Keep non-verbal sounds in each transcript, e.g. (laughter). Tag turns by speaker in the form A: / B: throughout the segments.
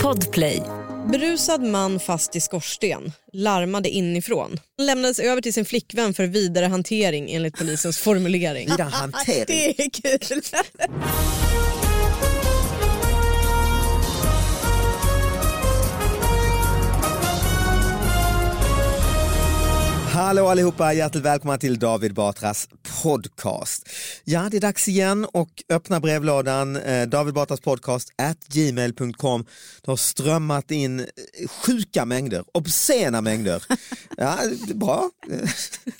A: Podplay.
B: Berusad man fast i skorsten, larmade inifrån. Han lämnades över till sin flickvän för vidare hantering enligt polisens formulering.
C: Vidare hantering.
B: Det är kul.
C: Hallå allihopa, hjärtligt välkomna till David Batras podcast. Ja, det är dags igen och öppna brevlådan eh, David Batras podcast at gmail.com. Det har strömmat in eh, sjuka mängder, obscena mängder. Ja, det är bra. (laughs) Eh,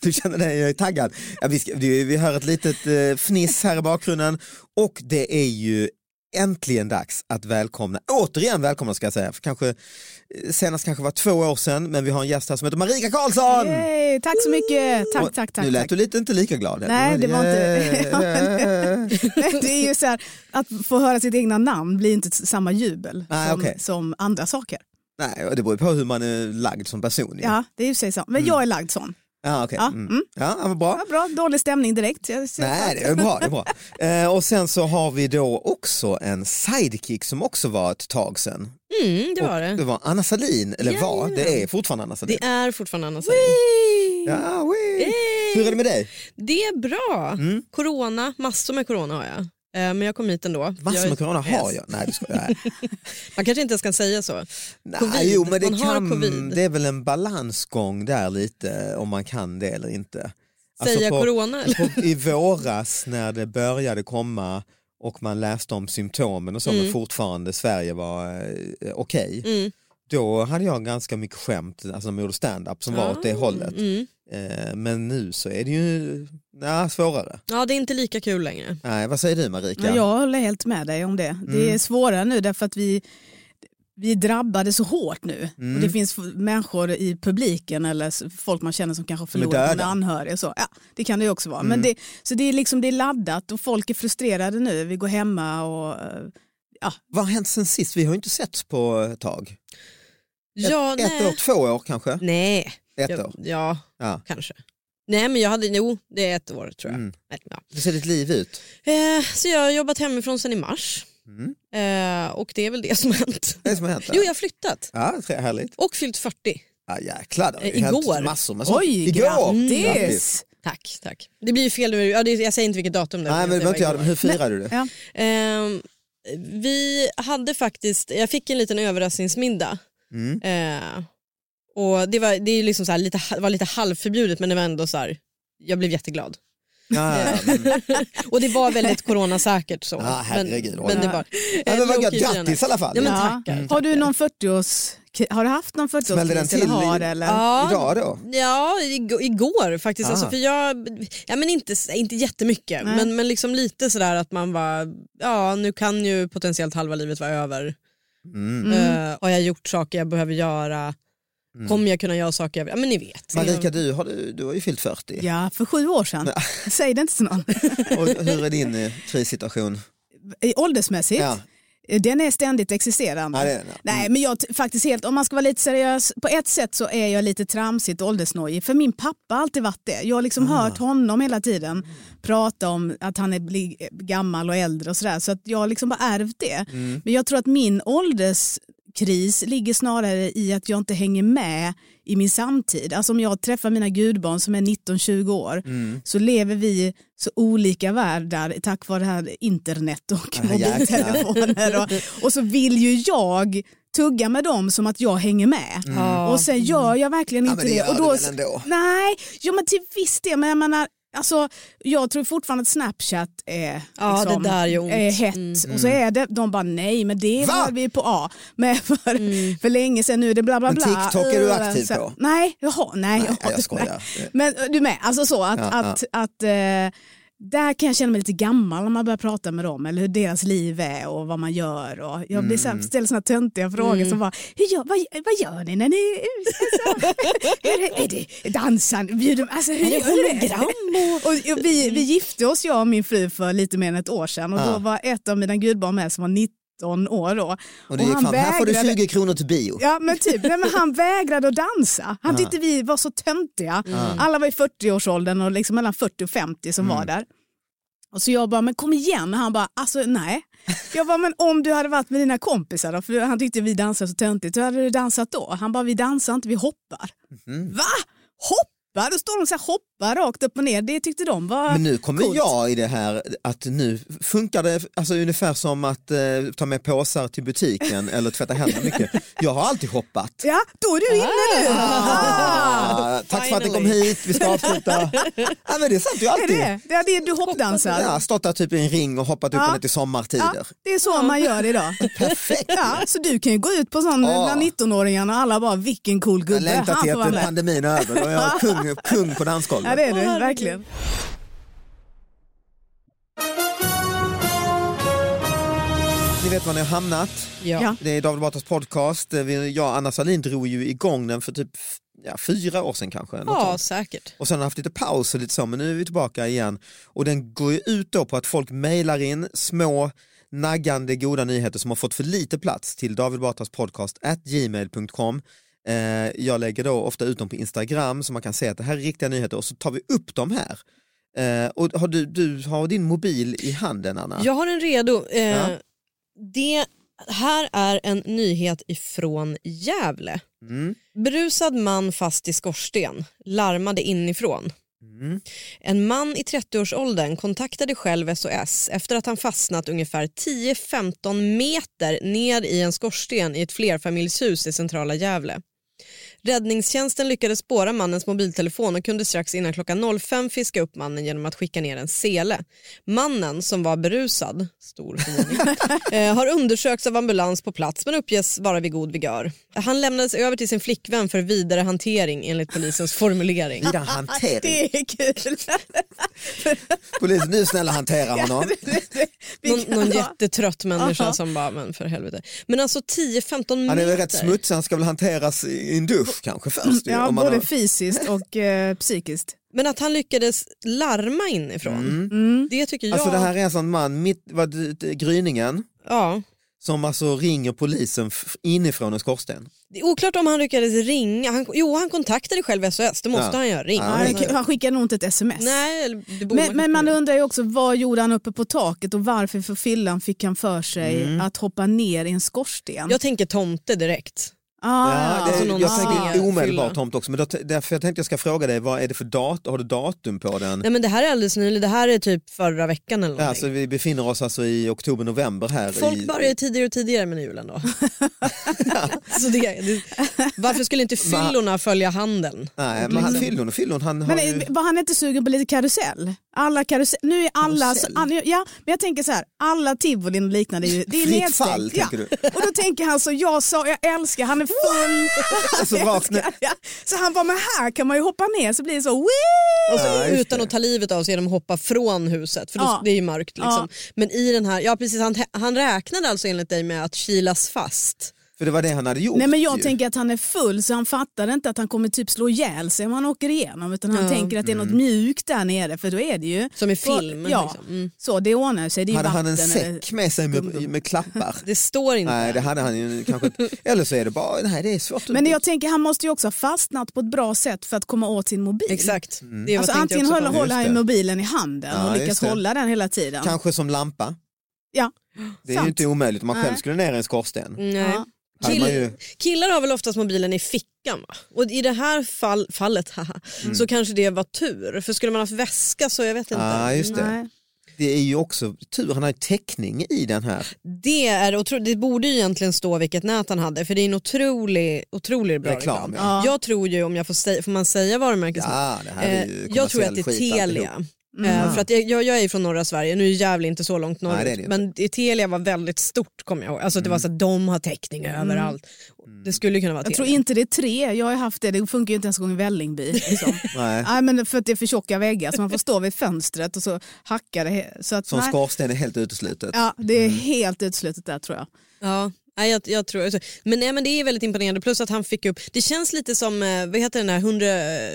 C: Du känner dig eh, taggad. Ja, vi, ska, vi vi hör ett litet eh, fniss här i bakgrunden och det är ju äntligen dags att välkomna, återigen välkomna ska jag säga, för kanske, eh, senast kanske var två år sedan, men vi har en gäst här som heter Marika Karlsson!
D: Yay, tack så mycket. Tack,
C: Och
D: tack, tack.
C: nu lät
D: tack. (laughs)
C: du lite, inte lika glad.
D: Nej, det var inte- (laughs) Ja, Men det är ju så här, att få höra sitt egna namn blir inte samma jubel
C: Nej,
D: som,
C: Ah, okej.
D: som andra saker.
C: Nej, det beror ju på hur man är lagd som person. ju.
D: Ja, det är ju sig så. Men
C: Mm.
D: jag är lagd sån.
C: Ja, okej.
D: Ja,
C: Mm.
D: mm.
C: ja vad bra.
D: Ja, bra, dålig stämning direkt. Jag ser-
C: Nej, det är bra.
D: (laughs)
C: Det är bra. Eh, och sen så har vi då också en sidekick som också var ett tag sedan.
B: Mm, det var
C: Och
B: det.
C: det var Anna Salin, eller
B: Ja,
C: var,
B: ja.
C: det är fortfarande Anna Salin.
B: Det är fortfarande Anna Sahlin.
C: Ja, wee. Hur är det med dig?
B: Det är bra.
C: Mm.
B: Corona, massor med corona har jag. Eh, Men jag kom hit ändå.
C: Massor
B: jag,
C: med corona har
B: Yes.
C: jag. Alltså Nej, du ska,
D: (laughs)
C: nej.
B: Man kanske inte ens kan säga så. Covid.
C: nej jo, men det,
B: Man har
C: kan,
B: covid.
C: det är väl en balansgång där lite, om man kan det eller inte. Alltså
B: Säga
C: på-
B: corona eller?
C: på, i våras när det började komma och man läste om symptomen och så men
B: Mm.
C: fortfarande Sverige var eh, okej.
B: Mm.
C: Då hade jag ganska mycket skämt, alltså när man gjorde stand-up som var åt det
B: Ah,
C: hållet.
B: Mm.
C: Eh, men nu så är det ju nja, svårare.
B: Ja, det är inte lika kul längre.
C: Nej, vad säger du Marika?
D: Men jag håller helt med dig om det.
C: Mm.
D: Det är svårare nu därför att vi, vi är drabbade så hårt nu.
C: Mm.
D: Och det finns f- människor i publiken eller s- folk man känner som kanske har
C: Som är
D: förlorat
C: döda. Mm.
D: någon anhörig. och Så. Ja, det kan det ju också vara. Men det, så det är, liksom, det är laddat och folk är frustrerade nu. Vi går hemma och... eh,
C: Vad har hänt sen sist? Vi har ju inte setts på ett tag. Ett,
B: Ja,
C: ett
B: nej.
C: år, två år kanske?
B: Nej,
C: Ett
B: ja,
C: år.
B: ja,
C: Ja.
B: kanske. Nej, men jag hade, jo, det är ett år tror jag.
C: Mm.
B: Nej, ja.
C: Hur ser ditt liv ut?
B: Eh, så jag har jobbat hemifrån sedan i mars
C: Mm.
B: eh, och det är väl det som har hänt.
C: Vad är det som har hänt? där?
B: Jo, jag har flyttat
C: Ja, tre- härligt.
B: och fyllt 40.
C: Ja, jäklar, det har ju
B: Eh,
C: hänt
B: igår.
C: massor med sånt.
D: Oj,
C: Igår! Grattis.
D: grattis!
B: Tack, tack. Det blir ju fel nu, ja, det, jag säger inte vilket datum det är,
C: Nej, men,
B: det
C: men,
B: var
C: men,
B: igår.
C: hur firar du det?
D: Ja.
B: Ehm, vi hade faktiskt, jag fick en liten överraskningsmiddag.
C: Mm.
B: Eh, och det var, det är ju liksom så här, lite, det var lite halvförbjudet men det var ändå så här, jag blev jätteglad.
C: Ja, ja, ja. Mm.
B: Och det var (laughs) väldigt coronasäkert så.
C: Ja, herregud,
B: men,
C: oj.
B: men det var, Eh,
C: Ja, men vad
B: low-key
C: gött, grattis i alla fall.
B: Ja, Mm. men
D: Ja.
B: tackar,
D: Har du
B: tackar.
D: någon 40-års... Har du haft någon 40-årskris?
C: Smällde den till
D: eller har,
C: i-
D: eller?
B: Ja,
C: Idag då?
B: Ja, ig- igår faktiskt.
C: Ah.
B: Alltså, för jag, ja, men inte, inte jättemycket,
D: Nej.
B: men, men liksom lite sådär att man var ja nu kan ju potentiellt halva livet vara över.
C: Mm.
D: Mm.
B: Eh, har jag gjort saker jag behöver göra?
C: Mm.
B: Kommer jag kunna göra saker jag... Ja, men ni vet.
C: Marika, du har, du, du har ju fyllt 40.
D: Ja, för sju år sedan. Säg det inte till någon.
C: Och hur är din eh, krissituation?
D: I- Åldersmässigt?
C: Ja.
D: Den är ständigt existerande.
C: Ja, det är den, ja.
D: Nej, men jag t- faktiskt helt, om man ska vara lite seriös, på ett sätt så är jag lite tramsigt och åldersnojig, för min pappa har alltid varit det. Jag har liksom
C: Ah.
D: hört honom hela
C: Mm.
D: tiden prata om att han är bli gammal och äldre och sådär, så att jag har liksom bara ärvt det.
C: Mm.
D: Men jag tror att min ålderskris ligger snarare i att jag inte hänger med i min samtid. Alltså om jag träffar mina gudbarn som är 19-20 år
C: Mm.
D: så lever vi så olika världar tack vare det här internet och
C: Ja, jäklar.
D: mobiltelefoner. Och, och så vill ju jag tugga med dem som att jag hänger med.
B: Ja.
D: Och sen gör jag verkligen
C: Mm. Ja,
D: inte
C: men det gör
D: och då,
C: du väl ändå?
D: Nej, jo, men till viss del. Men jag, menar, alltså, jag tror fortfarande att Snapchat är,
B: Ja,
D: liksom,
B: det där gör ont. Mm.
D: är hett. Och så är det, de bara nej, men det
C: Mm. Va?
D: var vi på A med för,
B: Mm.
D: för länge sedan nu. är Det bla, bla,
C: Men
D: bla.
C: TikTok är du aktiv
D: Så-
C: på?
D: Nej, jaha, nej.
C: Nej, jag skojar.
D: Men eh, du med, alltså så att,
C: Ja,
D: att, att eh, där kan jag känna mig lite gammal när man börjar prata med dem eller hur deras liv är och vad man gör. Och jag blir så här,
C: Mm.
D: ställer såna töntiga frågor som bara, hur gör, vad, vad gör ni när ni är ute? Alltså, (laughs) är, det, är det dansar ni? Bjuder, alltså, hur
B: det
D: gör ni
B: hologram
D: Och, och vi, vi gifte oss, jag och min fru, för lite mer än ett år sedan och
C: Ja.
D: då var ett av mina gudbarn med som var 19 år då.
C: Och det gick fram, här får du
D: vägrade-
C: 20 kronor till bio.
D: Ja men typ, nej, men han vägrade att dansa. Han tyckte vi var
C: Mm.
D: så töntiga. Alla var i 40-årsåldern och liksom mellan 40 och 50 som var där. Och så jag bara, men kom igen. Och han bara, alltså nej. Jag bara, men om du hade varit med dina kompisar då? För han tyckte vi dansade så töntigt. Hur hade du dansat då? Han bara, vi dansar inte, vi hoppar.
C: Mhm.
D: Va? Hoppar? Då står de så här, hoppar rakt upp och ner. Det tyckte de var
C: Men nu kommer
D: coolt.
C: jag i det här att nu funkar det alltså, ungefär som att eh, ta med påsar till butiken (laughs) eller tvätta händerna mycket. Jag har alltid hoppat.
D: Ja, då är du inne nu.
C: Ah, tack för att ni kom
B: finally.
C: hit, vi ska avsluta. ja, men det är sant, jag har
D: Är
C: alltid
D: det? Det är det du hoppdansar?
C: ja, stått där typ i en ring och hoppat upp
D: Ja.
C: och ner till sommartider.
D: det är så man gör idag.
C: Perfekt! (laughs)
D: Ja, så du kan ju gå ut på sån
C: Ja.
D: bland 19-åringarna och alla bara vilken cool
C: Jag
D: gubbe,
C: längtar
D: han
C: till
D: får vara
C: att
D: med.
C: pandemin är över, då är jag kung, kung på dansgolvet.
D: Ja det är du,
B: Åh, herregud.
D: verkligen.
C: Ni vet var ni har hamnat.
B: Ja.
D: Ja.
C: Det är David Batras podcast. Vi- Jag och Anna Salin drog ju igång den för typ f- ja, fyra år sedan kanske. något
B: ja,
C: sånt.
B: säkert.
C: Och sen har jag haft lite paus och lite så, men nu är vi tillbaka igen. Och den går ju ut då på att folk mejlar in små naggande goda nyheter som har fått för lite plats till David Batras podcast at gmail.com. Eh, jag lägger då ofta ut dem på Instagram så man kan se att det här är riktiga nyheter och så tar vi upp dem här. Eh, och har du, du har din mobil i handen Anna?
B: Jag har en redo. Eh,
C: Ja.
B: Det här är en nyhet ifrån Gävle.
C: Mm.
B: Berusad man fast i skorsten, larmade inifrån.
C: Mm.
B: En man i 30-årsåldern kontaktade själv SOS efter att han fastnat ungefär 10-15 meter ner i en skorsten i ett flerfamiljshus i centrala Gävle. Räddningstjänsten lyckades spåra mannens mobiltelefon och kunde strax innan klockan 05 fiska upp mannen genom att skicka ner en sele. Mannen, som var berusad, stor förvåning, eh, har undersökts av ambulans på plats men uppges vara vid god vigör. Han lämnades över till sin flickvän för vidare hantering enligt polisens formulering.
C: Vidare hantering.
D: Det är kul.
C: Polisen, nu
D: (laughs)
C: snälla hantera honom.
D: Vi
B: Någon,
D: kan
B: någon
D: ha-
B: jättetrött människa
D: Aha.
B: som bara, men för helvete. Men alltså 10-15 meter.
C: Han är väl rätt smutsig, han ska väl hanteras i en dusch kanske först. ju,
D: Ja,
C: om man
D: både
C: har-
D: fysiskt och eh, psykiskt.
B: Men att han lyckades larma inifrån,
D: Mm.
B: det tycker jag.
C: Mm. Alltså det här är en sån man, mitt, vad, det- gryningen,
B: ja.
C: som alltså ringer polisen f- inifrån en skorsten.
B: Det är oklart om han lyckades ringa. Han, jo, han kontaktade själv SOS, det måste
C: Ja.
B: han göra. Ring.
C: Ja, alltså.
D: Han,
C: men-
D: han skickade nog inte ett sms.
B: Nej, eller det borde
D: Men, men man undrar ju också vad gjorde han uppe på taket och varför för fyllan fick han för sig
C: Mm.
D: att hoppa ner i en skorsten?
B: Jag tänker tomte direkt.
D: Ah,
C: Ja, det,
B: alltså någon
C: jag
B: ser
C: tänker omedelbart
B: fylla.
C: tomt också, men då, t- därför jag tänkte jag ska fråga dig, vad är det för datum, har du datum på den?
B: Nej men det här är alldeles nyligen, det här är typ förra veckan eller någonting.
C: Alltså, vi befinner oss alltså i oktober-november här.
B: Folk
C: i,
B: börjar ju tidigare och tidigare med julen
C: (laughs)
B: då. (laughs) Så det, det, varför skulle inte fyllorna följa handeln?
C: Nej, men han, fyllon och fyllon, han har
D: Men
C: ju...
D: eh, var han inte sugen på lite karusell? Alla karusell, nu är alla,
C: Karusell?
D: så- an- ja men jag tänker så här, alla tivolin och liknande är ju, det är
C: Fritt
D: nedstängt.
C: fall,
D: ja.
C: tänker du?
D: Och då tänker han så, jag sa, jag älskar, han är full. (laughs)
C: Alltså,
D: Jag
C: vakna-
D: älskar, ja. Så han bara, men här kan man ju hoppa ner så blir det så, Wee!
B: Och så
C: Ja, just
B: alltså, utan
C: det.
B: att ta livet av sig genom att hoppa från huset för då,
D: Ja.
B: det är ju mörkt. Liksom.
D: Ja.
B: Men i den här, ja precis han, han räknade alltså enligt dig med att kilas fast.
C: För det var det han hade gjort.
D: Nej men jag
C: ju.
D: tänker att han är full så han fattar inte att han kommer typ slå ihjäl sig om han åker igenom utan han tänker att det är
C: Mm.
D: något mjukt där nere för då är det ju
B: Som i film,
D: Ja,
B: liksom. Mm.
D: så det ordnar sig. Det är ju
C: Hade han en
D: vatten eller-
C: säck med sig med, med klappar?
B: Det står inte.
C: Nej, det hade han ju kanske inte. Eller så är det bara, nej det är svårt.
D: Men jag tänker han måste ju också ha fastnat på ett bra sätt för att komma åt sin mobil.
B: Exakt.
C: Mm.
B: Det
D: Alltså,
B: tänkte jag
D: antingen
B: också
D: håller,
B: på.
C: på.
D: håller han ju
C: Just det.
D: mobilen i handen
C: Ja,
D: och lyckas
C: just det.
D: hålla den hela tiden.
C: Kanske som lampa.
D: Ja.
C: Det är
D: Sant.
C: ju inte omöjligt om man själv
D: Nej.
C: skulle ner i en skorsten.
B: Mm, Nej.
D: Ja.
C: Hade man ju,
B: Killar har väl oftast mobilen i fickan va? Och i det här fall, fallet haha,
C: Mm.
B: så kanske det var tur. För skulle man haft väska så jag vet inte. Mm.
C: ah, just det.
D: Nej.
C: det är ju också tur, han har ju täckning i den här
B: Det, är otro- det borde ju egentligen stå vilket nät han hade för det är en otrolig, otrolig bra reklam.
C: reklamen. Ja.
D: Ja.
B: Jag tror ju, om jag får, säga, får man säga varumärkesnamn?
C: Ja, Ah, det här är ju
B: Eh, jag tror
C: kommersiell
B: att det är
C: skit
B: Telia.
C: alltihop.
D: Mm.
B: Eh, För att jag, jag, jag är ju från norra Sverige, nu är Gävle inte så långt norrut,
C: Nej, det är det inte.
B: men det- Telia var väldigt stort kommer jag ihåg. Alltså, det var så att de har täckning överallt. Det skulle ju kunna vara
D: Mm. Jag
B: Telia.
D: tror inte det är tre, jag har ju haft det, det funkar ju inte ens en gång i Vällingby.
C: (laughs)
D: Liksom.
C: Nej.
B: Ah,
D: nej, men för att det är för tjocka väggar så man får stå vid fönstret och så hackar det. he- Så att,
C: som Mm.
D: nej.
C: skorsten är helt uteslutet.
D: Ja, det är helt utslutet där tror jag.
B: Ja, nej, jag, jag tror, alltså, men, nej, men det är väldigt imponerande. Plus att han fick upp, det känns lite som, eh, vad heter den här, 100,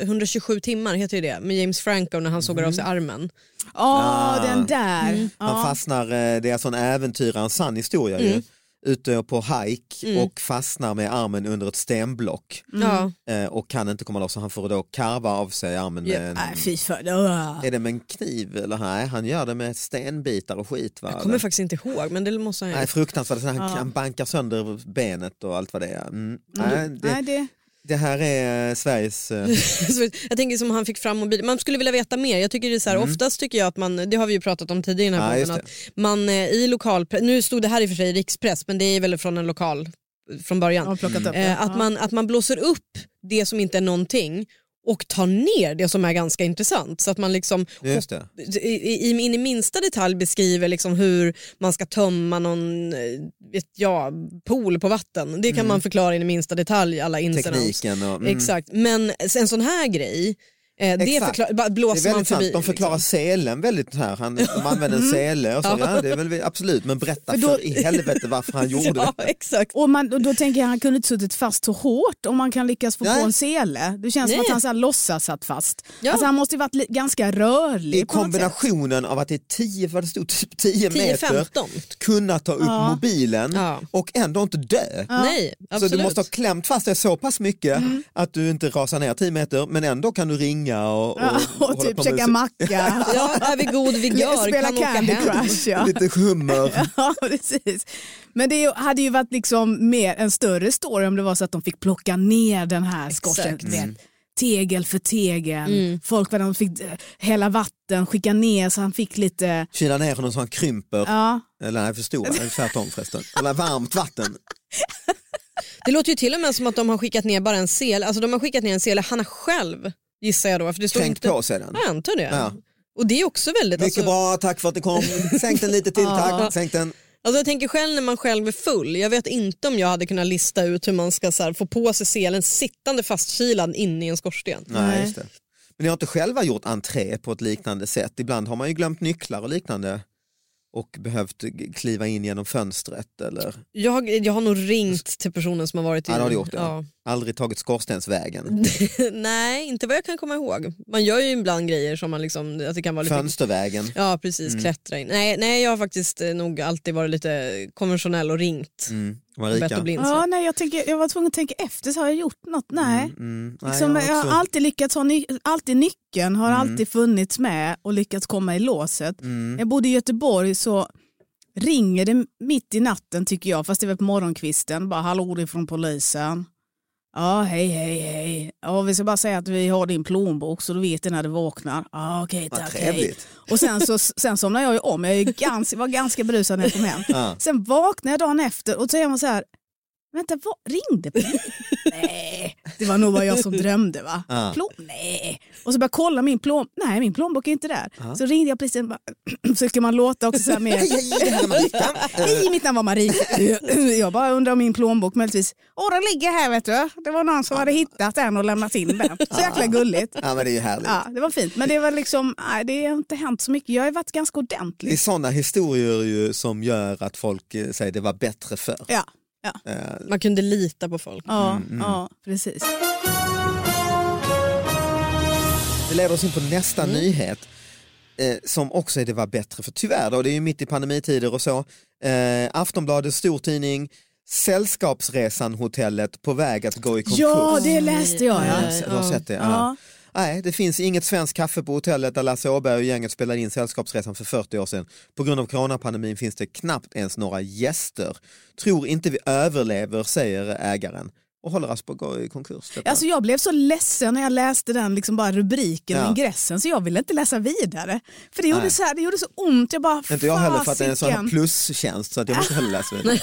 B: 127 timmar heter ju det, med James Franco när han sågar av sig armen.
D: Åh,
C: Ah. Mm.
D: den där. Ja.
C: Han fastnar, eh, det är alltså en äventyr, en sann historia ju. ute på hike
B: Mm.
C: och fastnar med armen under ett stenblock
B: Ja.
C: eh, och kan inte komma loss. Så han får då karva av sig armen
B: Ja.
C: med en,
D: Nej, fy för... Ugh.
C: Är det med en kniv eller? Nej, han gör det med stenbitar och skit. Va?
B: Jag kommer faktiskt inte ihåg men det måste han
C: Nej,
B: ju.
C: fruktansvärt. Han,
D: Ja.
C: han bankar sönder benet och allt vad det är. Mm. Nej,
D: Mm.
C: det,
D: Nej, det...
C: det här är eh, Sveriges...
D: (laughs)
C: eh,
B: (laughs) Så jag tänker som han fick fram mobilen. Man skulle vilja veta mer. Jag tycker det är så här, Oftast tycker jag att man, det har vi ju pratat om tidigare i den
C: Mm. Ja,
B: här
C: just
B: podden, att man eh, i lokal, nu stod det här i och för sig i rikspress men det är väl från en lokal eh, från början.
D: Jag har plockat upp det.
B: Eh, att,
D: Ja.
B: man, att man blåser upp det som inte är någonting och tar ner det som är ganska intressant. Så att man liksom
C: Just det.
B: i, i, in i minsta detalj beskriver liksom hur man ska tömma någon eh, vet jag, pool på vatten. Det kan man förklara in i minsta detalj, alla ins and outs.
C: Mm. Tekniken och... Mm.
B: Exakt, men en sån här grej, eh, det
C: Exakt.
B: förklar, bara
C: Det är
B: blåser man
C: väldigt
B: förbi.
C: sant, de förklarar
D: liksom.
C: selen väldigt här. Han, de använder en sele och så. Ja, det är väl, absolut, men berätta
D: Men Mm. då-
C: för i helvete varför
D: (laughs)
C: han gjorde
B: liksom. ja,
C: det.
B: (laughs) exakt.
D: Och man, och då tänker jag han kunde inte suttit fast så hårt om man kan lyckas få
C: Nej.
D: på en sele. Det känns
B: Nej.
D: som att han så här låtsas satt fast.
B: Ja.
D: Alltså han måste ju varit li- ganska rörlig
C: I
D: på något sätt.
C: kombinationen av att det är 10, vad det stod, typ 10 meter,
B: 10-15.
C: kunna ta upp
D: Ja.
C: mobilen
B: Ja.
C: och ändå inte dö.
B: Nej, absolut.
C: Så du måste ha klämt fast dig så pass mycket
D: Mm.
C: att du inte rasar ner 10 meter men ändå kan du ringa och, och,
D: Ja, (laughs)
C: hålla
D: och
C: på
D: typ
C: med musik.
D: käka macka,
C: (laughs)
B: Ja, är vi god vigör
D: spela
B: kan åka
D: Candy
B: hem.
D: Crush. Ja. (laughs)
C: Lite hummer.
D: Ja, precis. Men det är ju- hade ju varit liksom mer en större story om det var så att de fick plocka ner den här skorsten.
B: Exakt.
D: du vet. Tegel för tegel. Folk var de fick eh, hälla vatten, skicka ner så han fick lite...
C: Kyla ner honom så han krymper.
D: Ja,
C: Eller nej, för stor. Eller Tvärtom förresten. Eller varmt vatten.
B: Det låter ju till och med som att de har skickat ner bara en sele, alltså de har skickat ner en sele, han har själv gissar jag då. För det står
C: Kränkt
B: inte...
C: på sig den.
B: Ja, Jag antar det.
C: Ja.
B: Och det är också väldigt,
C: Mycket
B: alltså,
C: bra, tack för att ni kom. Sänk den lite till tack. Sänk den.
B: alltså jag tänker själv när man själv är full, jag vet inte om jag hade kunnat lista ut hur man ska så här, få på sig selen sittande fastkilad inne i en skorsten.
C: Nej,
D: Nej.
C: just det. Men ni har inte själva gjort entré på ett liknande sätt. Ibland har man ju glömt nycklar och liknande och behövt g- kliva in genom fönstret eller
B: Jag, jag har nog ringt till personen som har varit i
C: Ja, det har du gjort, ja.
B: Ja.
C: aldrig tagit skorstensvägen,
B: (laughs) Nej, inte vad jag kan komma ihåg. Man gör ju ibland grejer som man liksom, att det kan vara lite...
C: fönstervägen.
B: Ja precis,
C: Mm.
B: klättra in. Nej, nej jag har faktiskt eh, nog alltid varit lite konventionell och ringt.
C: Mm.
B: Bett och
C: Marika?
B: blind.
D: ja nej, jag, tänker, jag var tvungen att tänka efter, så har jag gjort något? Nej.
C: Mm. Nej,
D: Liksom,
C: jag
D: jag,
C: har
D: har
C: också- (laughs)
D: alltid lyckats ha ny- alltid nyckeln, har alltid funnits med och lyckats komma i låset.
C: Mm.
D: Jag bodde i Göteborg så ringer det mitt i natten tycker jag, fast det är väl på morgonkvisten. Bara hallå det är från polisen. Ja hej hej hej. Ja vi ska bara säga att vi har din plånbok så du vet det när du vaknar. Ja okej
C: Vad
D: tack hej.
C: trevligt.
D: Och sen, så, sen somnade jag ju om, jag är ju ganska, var ganska berusad när jag kom hem.
C: Ja.
D: Sen vaknade jag dagen efter och så är man så här, vänta vad ringde på mig? Nej, det var nog bara jag som drömde va?
C: Ja.
D: Plån? Nej. Och så bara kolla min plån, nej min plånbok är inte där. Så ringde jag polisen, bara, (clears throat) så ska man låta också så här med,
C: Hej, (laughs) hej, det här är Marika.
D: hej mitt namn var Marie. (clears throat) Jag bara undrar om min plånbok möjligtvis, åh den ligger här vet du. Det var någon som hade hittat den och lämnat in den. Så jäkla gulligt.
C: Ja, men det är ju härligt.
D: Ja, det var fint, men det var liksom, nej, det har inte hänt så mycket. Jag har ju varit ganska
C: Det är
D: ordentlig.
C: sådana historier ju som gör att folk eh, säger det var bättre förr.
D: Ja, ja.
C: Eh,
B: Man kunde lita på folk.
D: Ja,
C: Mm,
D: ja, precis.
C: Det leder oss in på nästa nyhet eh, som också är det var bättre för tyvärr då, det är ju mitt i pandemitider och så. Eh, Aftonbladet stortidning Sällskapsresan hotellet på väg att gå i konkurs.
D: Ja, det läste jag.
C: Ja,
D: Ja.
C: jag har sett det. Ja.
D: Ja.
C: Nej, det finns inget svenskt kaffe på hotellet där Lasse Åberg och gänget spelade in Sällskapsresan för 40 år sedan. På grund av coronapandemin finns det knappt ens några gäster. Tror inte vi överlever, säger ägaren och håller oss på att gå i konkurs. detta.
D: Alltså jag blev så ledsen när jag läste den liksom bara rubriken och
C: Ja.
D: ingressen så jag ville inte läsa vidare. För det
C: Nej.
D: gjorde, så, här, det gjorde så ont. Jag bara,
C: Inte jag heller för att det är en sån här
D: fasiken.
C: plustjänst så att jag måste heller läsa
D: (laughs)
C: vidare.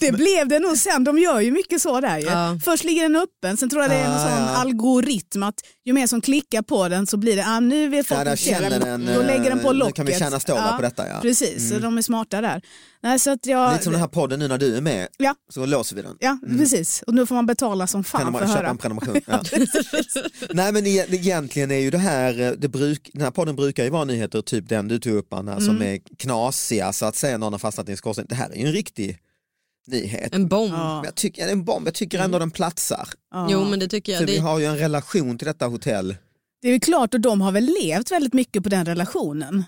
D: Det blev det nog sen. De gör ju mycket så där ju.
B: Ja.
D: Först ligger den öppen, sen tror jag det är en
C: Ah,
D: sån
C: ja.
D: algoritm att ju mer som klickar på den så blir det, ah, nu vill folk
C: Ja, där känner den,
D: Då lägger den på
C: eh, nu kan
D: locket.
C: vi tjäna stålar på detta, ja. Mm.
D: Precis, så de är smarta där. Nej, så att jag,
C: Lite som den här podden nu när du är med
D: Ja.
C: så låser vi den.
D: Ja, precis. Och nu får man betala som fan
C: Prenumer-
D: för att
C: köpa
D: höra.
C: en
D: (laughs)
C: prenumeration. Ja. Nej men e- egentligen är ju det här, eh, det bruk, den här podden brukar ju vara nyheter, typ den du tog upp Anna, som
D: Mm.
C: är knasiga så att säga någon har fastnat i en skorsten. Det här är ju en riktig nyhet.
B: En bomb.
D: Ja. Mm.
C: Men jag tycker, ja, det är en bomb, jag tycker ändå den platsar.
D: Ja.
B: Jo men det tycker
C: Så
B: jag.
C: vi
B: Det,
C: har ju en relation till detta hotell.
D: Det är ju klart och de har väl levt väldigt mycket på den relationen.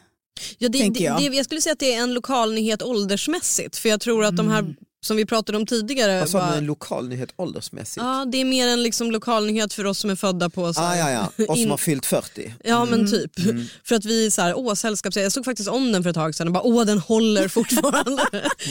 B: Ja, det,
D: tänker
B: det,
D: jag.
B: jag. Det, jag skulle säga att det är en lokal nyhet åldersmässigt för jag tror att de här som vi pratade om tidigare
C: Mm. Vad sa
B: var-
C: du, en lokal nyhet åldersmässigt?
B: Ja, det är mer en liksom lokal nyhet för oss som är födda på... Så
C: Ah,
B: här,
C: ja, Mm. ja. Och som
B: in-
C: har fyllt 40.
B: Ja men typ. (laughs) För att vi är så här, åh sällskapsresan. Jag såg faktiskt om den för ett tag sedan och bara, åh den håller
C: (laughs)
B: fortfarande.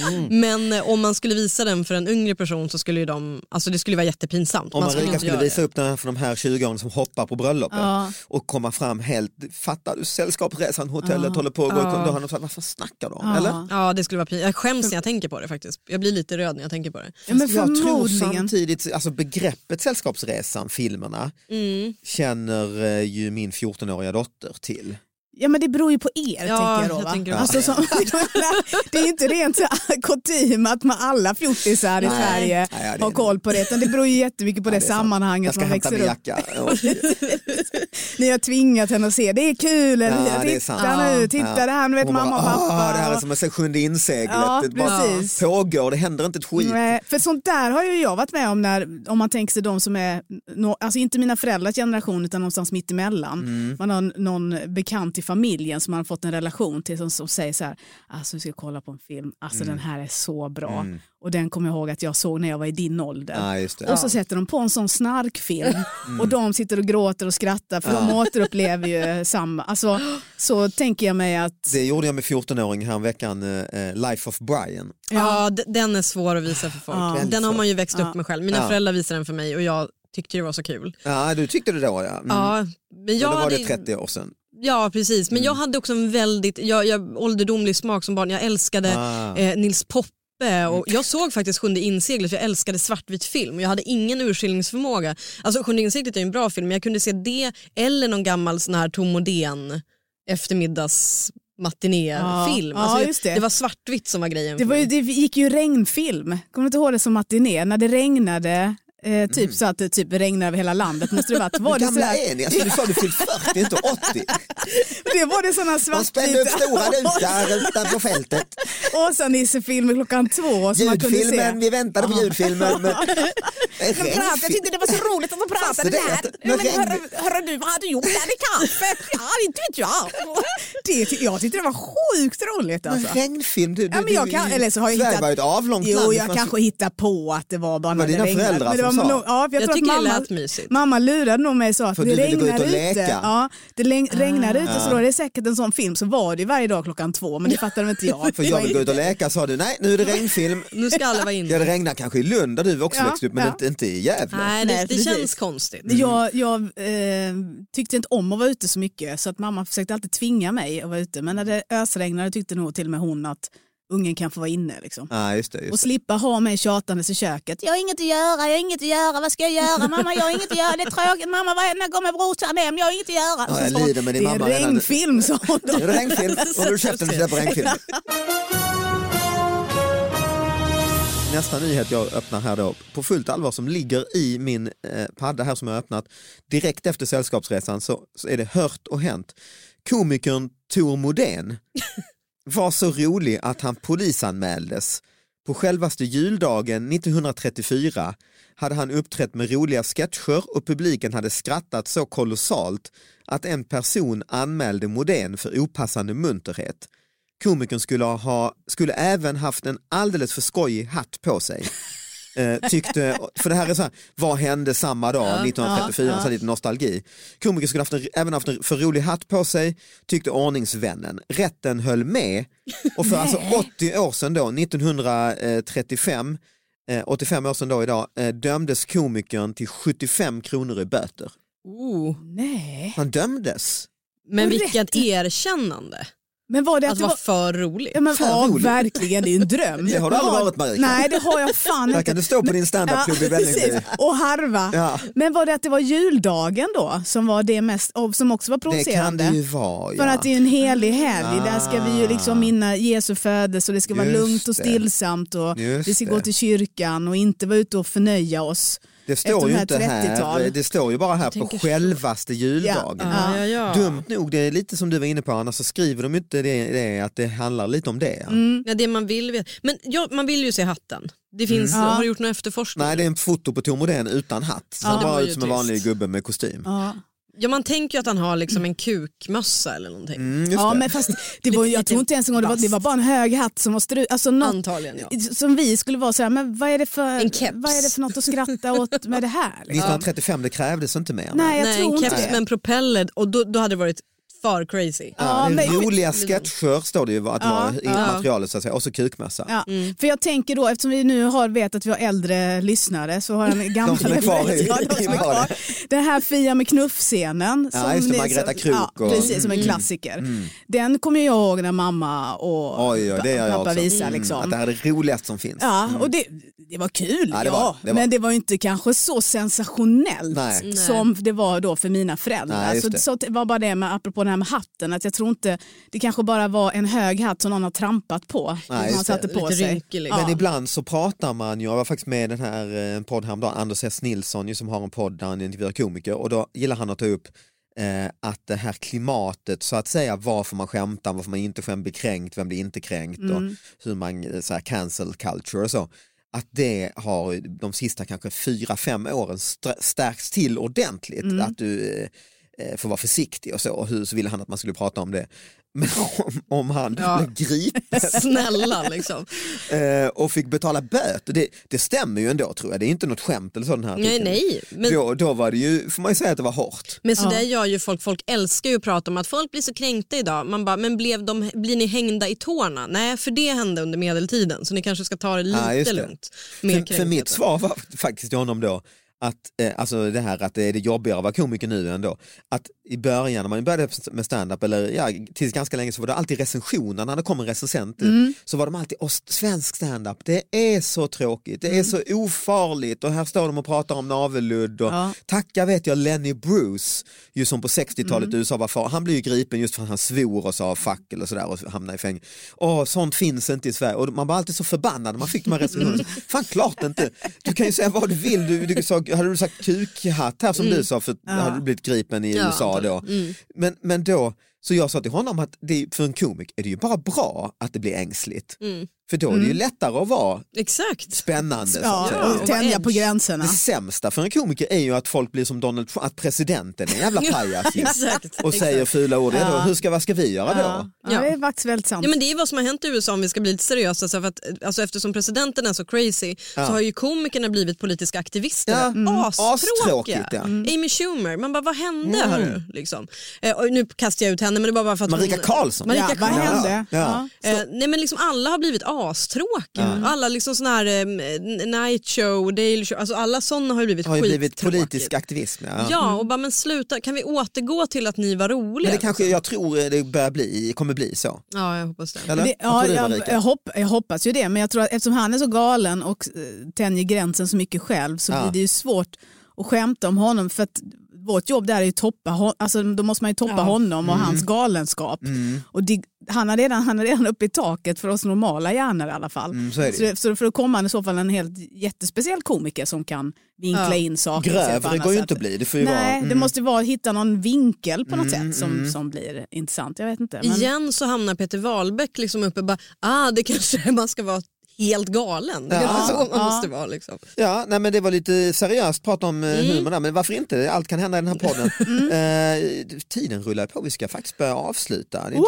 C: Mm.
B: Men eh, om man skulle visa den för en yngre person så skulle ju de, alltså det skulle vara jättepinsamt.
C: Om
B: man skulle
C: Marika
B: inte
C: skulle
B: göra
C: visa
B: det.
C: upp den här för de här 20-åringarna som hoppar på bröllopet
D: Ja.
C: och komma fram helt, fattar du sällskapsresan, hotellet håller på att gå ja. Då har de sagt, varför snackar de?
D: Ja.
C: Eller?
B: Ja det skulle vara pinsamt. Jag skäms när jag tänker på det faktiskt. Jag blir lite röd när jag tänker på det.
D: Ja, men
C: jag tror
D: förmodligen.
C: samtidigt, alltså begreppet sällskapsresan, filmerna,
D: Mm.
C: känner eh, ju min 14-åriga dotter till.
D: Ja men det beror ju på er
B: Ja,
D: tänker jag då.
B: jag
D: va?
B: tänker
D: alltså, som, (laughs) det är ju inte rent så här kutym att man alla fjortisar i
C: Nej.
D: Sverige
C: Nej, ja, det är
D: har
C: det.
D: koll på det utan det beror ju jättemycket på
C: Ja,
D: det,
C: det är sant.
D: sammanhanget
C: Jag ska
D: man
C: hämta min
D: växer upp.
C: jacka.
D: (laughs)
C: Och,
D: Ni har tvingat henne att se, det är kul, eller
C: Ja,
D: hur?
C: det är sant.
D: titta nu, titta det här, nu vet
C: hon bara,
D: mamma och
C: "Ah,
D: pappa.
C: Det här är som att se sjunde inseglet,
D: Ja,
C: det bara
D: precis.
C: pågår, det händer inte ett skit.
D: Nej, för sånt där har ju jag varit med om när, om man tänker sig de som är, nå- alltså inte mina föräldrars generation utan någonstans mitt emellan.
C: Mm.
D: Man har n- någon bekant i familjen som man har fått en relation till som, som säger så här, alltså vi ska kolla på en film, alltså
C: Mm.
D: den här är så bra och den kommer jag ihåg att jag såg när jag var i din ålder.
C: Ja, Mm. just det.
D: Och så sätter de på en
C: (laughs)
D: sån snarkfilm och de sitter och gråter och skrattar för de återupplever
C: (laughs)
D: ju samma, alltså så tänker jag mig att
C: Det gjorde jag med 14-åring häromveckan, eh, eh, Life of Brian.
B: Ja, d- den är svår att visa för folk.
D: Ja.
B: Den har man ju växt upp med själv. Mina
C: Ja.
B: föräldrar visade den för mig och jag tyckte det var så kul.
C: Ja, du tyckte det då ja. Mm.
B: Ja, men
C: Men
B: jag
C: då var det Mm.
B: hade-
C: 30 år sedan.
B: Ja precis, men jag hade också en väldigt jag, jag, ålderdomlig smak som barn. Jag älskade
C: Ah. Mm.
B: eh, Nils Poppe och jag såg faktiskt Sjunde inseglet för jag älskade svartvit film. Jag hade ingen urskiljningsförmåga. Alltså Sjunde inseglet är ju en bra film men jag kunde se det eller någon gammal sån här Tom Odén eftermiddags matinéfilm.
D: Ja,
B: alltså,
D: ja, just det.
B: var svartvitt som var grejen.
D: Det,
B: för
D: var ju,
B: mig.
D: det gick ju regnfilm, kommer du inte ihåg det som matiné, när det regnade, eh, typ så att det typ regnade över hela landet måste det
C: (laughs)
D: varit. Var
C: Hur
D: det,
C: Mm. gamla
D: sådär,
C: är ni? Alltså, du sa du fyllt 40, inte
D: (laughs)
C: 80.
D: det var det sådana
C: De spände upp
D: svartvita
C: stora
D: (laughs)
C: lutar utanför fältet.
D: Åsa-Nisse-filmer klockan två som man kunde se.
C: Ljudfilmen, vi väntade på ljudfilmen.
D: (laughs)
C: Men...
A: det var så roligt att de
C: Alltså, det är- men regn-
A: hörru du, vad har du gjort där i
C: (laughs)
A: kaffet? Ja, inte vet jag.
D: Det, ty- jag tyckte det var sjukt roligt
C: Men
D: alltså.
C: regnfilm, du, du,
D: Ja, men jag
C: du-
D: kan, eller så har jag
C: Sverige
D: hittat,
C: var ju ett avlångt
D: jo,
C: land.
D: jag
C: Man-
D: kanske hittar på att det var bara när
C: dina
D: regnade.
C: föräldrar
D: Men det
C: som
D: var
C: sa?
D: nog- Ja, för jag,
B: Jag
D: tror att
B: tycker det
D: mamma,
B: lät mysigt.
D: mamma lurade nog mig så att
C: För
D: det
C: du ville gå ut
D: regnar
C: och
D: ute.
C: leka.
D: Ja, det läng-
B: Ah.
D: regnar ute så då är det säkert en sån film. Så var det ju varje dag klockan
C: (laughs)
D: två men det fattade inte jag. Mm.
C: För jag vill gå ut och leka sa du, nej nu är det regnfilm.
B: Nu ska alla
C: (laughs)
B: vara inne.
C: Ja, det regnar kanske i Lund där du också
D: Ja,
C: växte upp men
D: ja.
C: inte, inte i Gävle.
B: Nej, det,
D: Nej,
B: det
D: precis.
B: känns konstigt.
D: Jag, jag eh, tyckte inte om att vara ute så mycket så att mamma försökte alltid tvinga mig att vara ute. Men när det ösregnade tyckte nog till och med hon att ungen kan få vara inne. Liksom.
C: Ja, just det,
D: Och
C: just det.
D: slippa ha mig tjatandes i köket.
A: Jag har inget att göra, jag har inget att göra, vad ska jag göra? Mamma, jag har inget att göra, det är tråkigt. Mamma, vad- när kommer brorsan hem? Jag har inget att göra.
C: Ja, jag lider med
D: Det
C: din
D: är
C: mamma redan. nu.
D: regnfilm sa hon då.
C: Nu är det (laughs) regnfilm, håller du käften och tittar på regnfilm. Nästa nyhet jag öppnar här då, på fullt allvar som ligger i min eh, padda här som jag har öppnat, direkt efter Sällskapsresan så, så är det hört och hänt. Komikern Tor Modén var så rolig att han polisanmäldes. På självaste juldagen 1934 hade han uppträtt med roliga sketcher och publiken hade skrattat så kolossalt att en person anmälde Modén för opassande munterhet. Komikern skulle, ha, skulle även haft en alldeles för skojig hatt på sig. Eh, tyckte, för det här är så här, vad hände samma dag 1934, så här lite nostalgi. Komikern skulle haft en, även haft en för rolig hatt på sig, tyckte ordningsvännen. Rätten höll med och för alltså 80 år sedan då, 1935, eh, 85 år sedan då idag, eh, dömdes komikern till 75 kronor i böter.
B: Oh.
D: Nej.
C: Han dömdes.
B: Men
D: Och
B: vilket erkännande
D: Men var det att,
B: att
D: det
B: vara
D: var...
B: för rolig.
D: Ja, men,
C: Alltså, Fan,
D: ja
C: roligt.
D: verkligen, det är ju en dröm.
C: Det har du
D: Men
C: aldrig
D: var-
C: varit, Marika.
D: Nej det har jag fan
C: Där
D: inte.
C: kan du stå på din standupklubb i Vällingby.
D: (laughs) precis. Och harva.
C: Ja.
D: Men var det att det var juldagen då som var det mest, och som också var
C: Det kan
D: provocerande?
C: det ju vara.
D: För
C: ja.
D: att det är en helig helg, där ska vi ju
C: Ah.
D: liksom minna Jesu födelse och det ska vara
C: Just
D: lugnt och
C: det.
D: stillsamt och
C: Just
D: vi ska gå
C: det.
D: till kyrkan och inte vara ute och förnöja oss.
C: Det
D: Efter
C: står
D: de
C: ju
D: här
C: inte här,
D: 30-tal.
C: det står ju bara här på
B: tänker så.
C: självaste juldagen.
B: Ja, ja, ja.
C: Dumt nog, det är lite som du var inne på Anna, så skriver de ju inte det, det att det handlar lite om det.
D: Mm.
B: Ja, det man vill veta. Men ja, man vill ju se hatten. Det finns,
D: Ja.
B: Har du gjort någon efterforskning?
C: Nej, det är en foto på Tor Modén utan hatt. Så
B: Ja,
C: han
B: det
C: bara
B: var
C: ut
B: ju
C: som en
B: trist.
C: vanlig gubbe med kostym.
D: Ja.
B: Ja, man tänker ju att han har liksom en kukmössa eller någonting.
C: Mm, just
D: Ja,
C: det.
D: men fast det var, jag
B: lite
D: tror inte ens en gång det var, det var bara en hög hatt som var stru, alltså något,
B: Antagligen ja.
D: som vi skulle vara så här, men vad är det för,
B: En keps.
D: vad är det för något att skratta åt med det här? liksom?
C: 1935, det krävdes inte mer.
D: Nej, jag
B: Nej,
D: tror
B: en
D: inte
B: keps
D: det.
B: med en propeller och då, då hade det varit för crazy.
C: Ja,
D: Ja,
C: det är
D: men-
C: roliga sketcher står det ju att det var i materialet så att säga och så kukmössa.
D: Ja, För jag tänker då, eftersom vi nu har, vet att vi har äldre lyssnare så har en gammal...
C: som är kvar i-
D: ja,
C: (laughs)
D: de som
C: i
D: är kvar. Den här Fia med knuff-scenen.
C: Ja,
D: som
C: just det,
D: ni-
C: Margareta
D: som-
C: Kruk
D: Ja,
C: och- Mm.
D: precis, som en klassiker. Den kommer jag ihåg när mamma och
C: Oj, oj, det gör jag
D: pappa
C: också.
D: visade.
C: Mm,
D: Liksom.
C: Att det här är det roligaste som finns.
D: Ja, och det, det var kul,
C: Mm. Ja,
D: ja,
C: det var- det var-
D: men det var ju inte kanske så sensationellt
C: Nej.
D: som det var då för mina föräldrar.
C: Nej, just
D: så,
C: det.
D: så det var bara det med, apropå det här med hatten, att jag tror inte, det kanske bara var en hög hatt som någon har trampat på.
C: Nej,
D: som
C: just
D: man satte
B: det.
D: på
B: Lite
D: sig.
B: rynkig, liksom.
D: ja.
C: Men ibland så pratar man ju, jag var faktiskt med i den här eh, podden häromdagen, Anders S Nilsson ju, som har en podd där han intervjuar komiker och då gillar han att ta upp eh, att det här klimatet så att säga, varför man skämtar, varför man inte skämt, blir kränkt, vem blir inte kränkt och hur man, eh, så här, cancel culture och så. Att det har de sista kanske fyra, fem åren str- stärkts till ordentligt. Att du eh, eh, får vara försiktig och så, och hur, så ville han att man skulle prata om det. Men (laughs) om, om han blev gripen
B: Snälla
C: (laughs)
B: liksom.
C: Eh, och fick betala böter. Det, det stämmer ju ändå tror jag, det är inte något skämt eller så den här
B: Nej,
C: artikeln.
B: nej. Men,
C: Då, då var det ju, får man ju säga att det var hårt.
B: men så där gör ju folk. Folk älskar ju att prata om att folk blir så kränkta idag. Man bara, men blev de, blir ni hängda i tårna? Nej, för det hände under medeltiden. Så ni kanske ska ta det lite
C: Ja, just det.
B: lugnt. med
C: För, för
B: kränktheten.
C: mitt svar var faktiskt till honom då att, eh, alltså det här att det är det jobbigare att vara komiker nu än då. Att i början när man började med stand-up eller ja, tills ganska länge så var det alltid recensioner, när det kom en recensent
B: Mm.
C: så var de alltid, "Åh, svensk stand-up, det är så tråkigt, det
B: Mm.
C: är så ofarligt och här står de och pratar om navelludd och
D: Ja.
C: tacka vet jag Lenny Bruce, ju som på 60-talet
D: Mm.
C: i USA var far, han blev ju gripen just för att han svor och sa fuck eller sådär och hamnade i fängelse. Åh, sånt finns inte i Sverige och man var alltid så förbannad när man
D: (laughs)
C: fick de här recensionerna. Fan klart inte, du kan ju säga vad du vill, du, du sa, hade du sagt kukhatt här som
D: Mm.
C: du sa för hade du blivit gripen i
B: Ja,
C: USA då. Men, men då, så jag sa till honom att det, för en komik är det ju bara bra att det blir ängsligt.
D: Mm.
C: För då är det ju lättare att vara
B: Exakt. (laughs)
C: spännande. så att
D: Ja,
C: säga.
B: Ja,
D: och tänja
B: edge.
D: på gränserna.
C: Det sämsta för en komiker är ju att folk blir som Donald Trump, att presidenten är en
D: (laughs)
C: jävla pajas ju.
B: Exakt.
C: och säger fula ord. Ja. Då, hur ska, vad ska vi göra då?
D: Ja. det är faktiskt väldigt sant.
B: Ja, men det är vad som har hänt i USA om vi ska bli lite seriösa. Så för att, alltså, eftersom presidenten är så crazy så har ju komikerna blivit politiska aktivister.
C: Ja. mm.
B: Astråkiga.
C: Astråkigt, ja. Mm.
B: Amy Schumer, man bara vad hände hörru? Liksom. Eh, och nu kastar jag ut henne men det är bara, bara för att
C: Marika
B: hon...
C: Karlsson.
B: Marika
D: ja, vad
B: Karlsson.
D: hände?
C: Ja.
D: Ja.
B: Eh, nej men liksom alla har blivit astråkiga.
C: Mm.
B: Alla liksom sån här eh, night show, daily show, alltså alla sådana har ju blivit
C: Det har ju blivit
B: skittråkigt.
C: politisk aktivism. Ja.
B: Ja och bara men sluta, kan vi återgå till att ni var roliga?
C: Men det kanske, jag tror eh, det börjar bli, kommer bli så.
B: Ja jag hoppas det.
C: Eller?
D: Det,
C: Vad
D: ja,
C: tror du,
D: jag,
C: Marika?
D: jag, hopp, jag hoppas ju det, men jag tror att eftersom han är så galen och eh, tänjer gränsen så mycket själv så
C: Ja.
D: blir det ju svårt att skämta om honom. För att vårt jobb där är ju att toppa hon, alltså, då måste man ju toppa honom
C: Mm.
D: och hans galenskap. Och det, han, är redan, han är redan uppe i taket för oss normala hjärnor i alla fall.
C: Mm, så är det
D: så,
C: ju.
D: så för att komma han i så fall en helt jättespeciell komiker som kan vinkla
B: Ja.
D: in saker. och se på
C: Grövre
D: annat
C: går ju
D: sätt.
C: inte att bli. Det får ju vara,
D: Nej,
C: mm.
D: det måste ju vara att hitta någon vinkel på något sätt som, som blir intressant. Jag vet inte. Men...
B: Igen så hamnar Peter Wahlbeck liksom uppe och bara, ah det kanske (laughs) man ska vara helt galen. Det
C: Ja.
B: kanske är så man
D: Ja.
B: måste vara liksom.
C: Ja, nej, men det var lite seriöst prat om mm. humor där, men varför inte? Allt kan hända i den här podden.
B: (laughs) Mm.
C: Eh, tiden rullar på, vi ska faktiskt börja avsluta. Det är inte,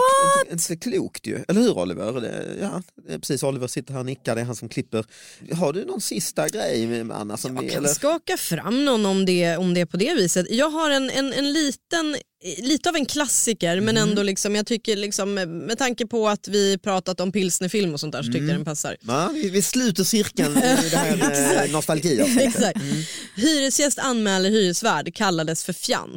C: inte, inte klokt ju, eller hur Oliver? Det, ja, det är precis, Oliver sitter här och nickar, det är han som klipper. Har du någon sista grej Anna? Som vi,
B: Jag kan
C: eller?
B: skaka fram någon om det, om det är på det viset. Jag har en, en, en liten, lite av en klassiker men ändå liksom, jag tycker liksom med tanke på att vi pratat om pilsnerfilm och sånt där så tycker jag den passar.
C: Ja, vi, vi
B: (laughs)
C: sluter cirkeln i det här eh, nostalgi.
B: Exakt. Hyresgäst anmäler hyresvärd kallades för fjant.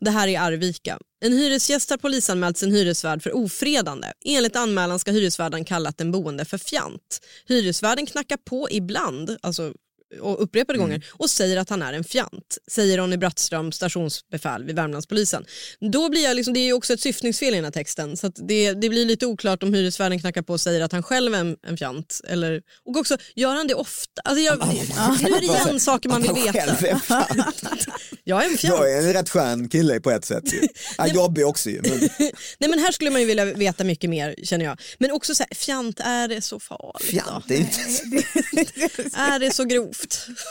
B: Det här är Arvika. En hyresgäst har polisanmält sin hyresvärd för ofredande. Enligt anmälan ska hyresvärden kallat den boende för fjant. Hyresvärden knackar på ibland, alltså och upprepade gånger och säger att han är en fjant, säger Ronny Brattström, stationsbefäl vid Värmlandspolisen. Då blir jag liksom, det är ju också ett syftningsfel i den här texten så att det, det blir lite oklart om hyresvärden knackar på och säger att han själv är en, en fjant. Eller, och också, gör han det ofta? Alltså jag, nu är det igen saker man vill
C: Han Alltså, själv
B: (laughs) veta.
C: är fan-
B: Jag är en fjant.
C: Jag är en rätt skön kille på ett
B: (laughs)
C: sätt. Ju. Ja, jobbig också ju. Men
B: Nej men här skulle man ju vilja veta mycket mer känner jag. Men också så här, fjant, är det så farligt? Ah,
C: fjant, det är inte...
B: Är det så grovt?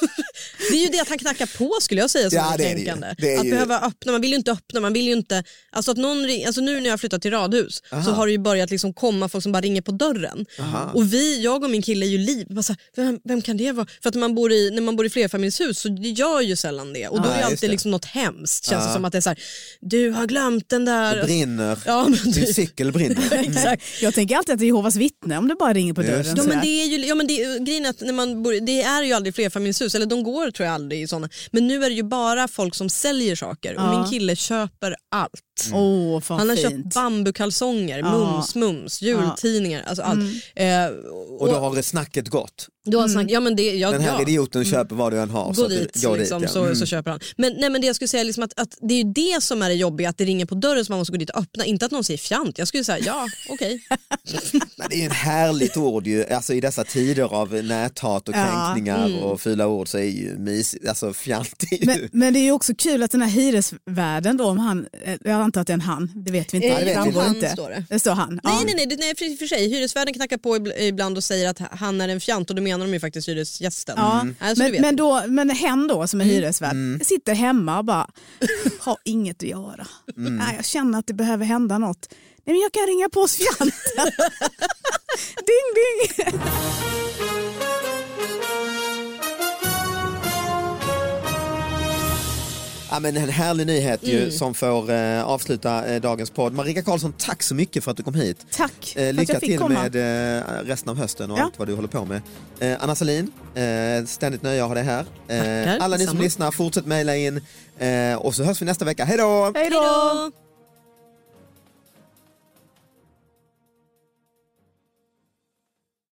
B: (laughs) Det är ju det att han knackar på skulle jag säga som
C: Ja,
B: är
C: det är det ju.
B: kränkande.
C: Det är
B: att
C: ju-
B: behöva öppna, man vill ju inte öppna, man vill ju inte, alltså att någon ring, alltså nu när jag har flyttat till radhus så har det ju börjat liksom komma folk som bara ringer på dörren. Och vi, jag och min kille är ju liv, bara så här, vem, vem kan det vara? För att när man bor i, när man bor i flerfamiljshus så det gör ju sällan det och då
C: Ah,
B: är det
C: just
B: alltid
C: det. Ah.
B: liksom något hemskt känns det som att det är så här, du har glömt den där.
C: Det brinner.
B: Ja, men
C: Din
B: typ.
C: cykel brinner.
B: (laughs) Exakt.
D: Jag tänker alltid att det är Jehovas vittne om det bara ringer på
C: Just
D: dörren.
C: det.
B: Ja, men
D: sådär.
B: det är ju, ja, men det, grejen är att när man bor, det är ju aldrig flerfamiljshus, eller de går tror jag aldrig i sådana. Men nu är det ju bara folk som säljer saker och
D: Ja.
B: min kille köper allt.
C: Mm.
D: Åh, fan
B: Han har
D: fint.
B: köpt bambukalsonger,
D: Ja. Mm.
B: mums, mums, jultidningar, alltså allt. Eh, och,
C: Och då har snacket gått.
B: då har snack, ja, men det, ja,
C: Den här
B: ja.
C: idioten köper vad du än har.
B: Gå
C: att det
B: dit,
C: går
B: liksom,
C: ja.
B: så,
C: Mm.
B: så köper han. Men, nej, men det jag skulle säga är liksom att, att det är ju det som är det jobbiga, att det ringer på dörren så man måste gå dit och öppna. Inte att någon säger fjant, jag skulle säga ja, okej.
C: Nej, det är ju ett härligt ord ju. Alltså, i dessa tider av näthat och
D: Ja.
C: kränkningar och fula ord så är ju mysigt, alltså fjantigt.
D: Men, men det är ju också kul att den här hyresvärden då, om han, eh, jag antar att det är en han, det vet vi inte.
B: Eh,
C: det vet vi
D: framgår
B: inte.
D: inte.
B: Han står det. Mm.
D: står han.
B: Nej,
D: ja.
B: nej, nej, det- nej för, för sig. Hyresvärden knackar på ibl- ibland och säger att han är en fjant och då menar de ju faktiskt hyresgästen.
D: Ja.
B: Alltså, du
D: Men,
B: vet. Mm.
D: men, då, men hen då som är hyresvärd
C: Mm.
D: sitter hemma och bara har inget att göra.
C: Mm.
D: Nej, jag känner att det behöver hända något. Nej, men jag kan ringa på hos fjanten.
C: (laughs)
D: ding
C: Eh,
D: ding.
C: Ja, men en härlig nyhet ju, som får eh, avsluta eh, dagens podd. Marika Karlsson, tack så mycket för att du kom hit.
D: Tack
C: Eh,
D: för att
C: lycka
D: jag fick
C: till
D: komma.
C: med eh, resten av hösten och
D: Ja.
C: allt vad du håller på med. Eh, Anna Salin, eh, ständigt nöje att ha dig här. Eh,
B: Tackar,
C: alla ni som
B: detsamma.
C: lyssnar, fortsätt mejla in eh, och så hörs vi nästa vecka. Hej då!
D: Hej
B: Hej då!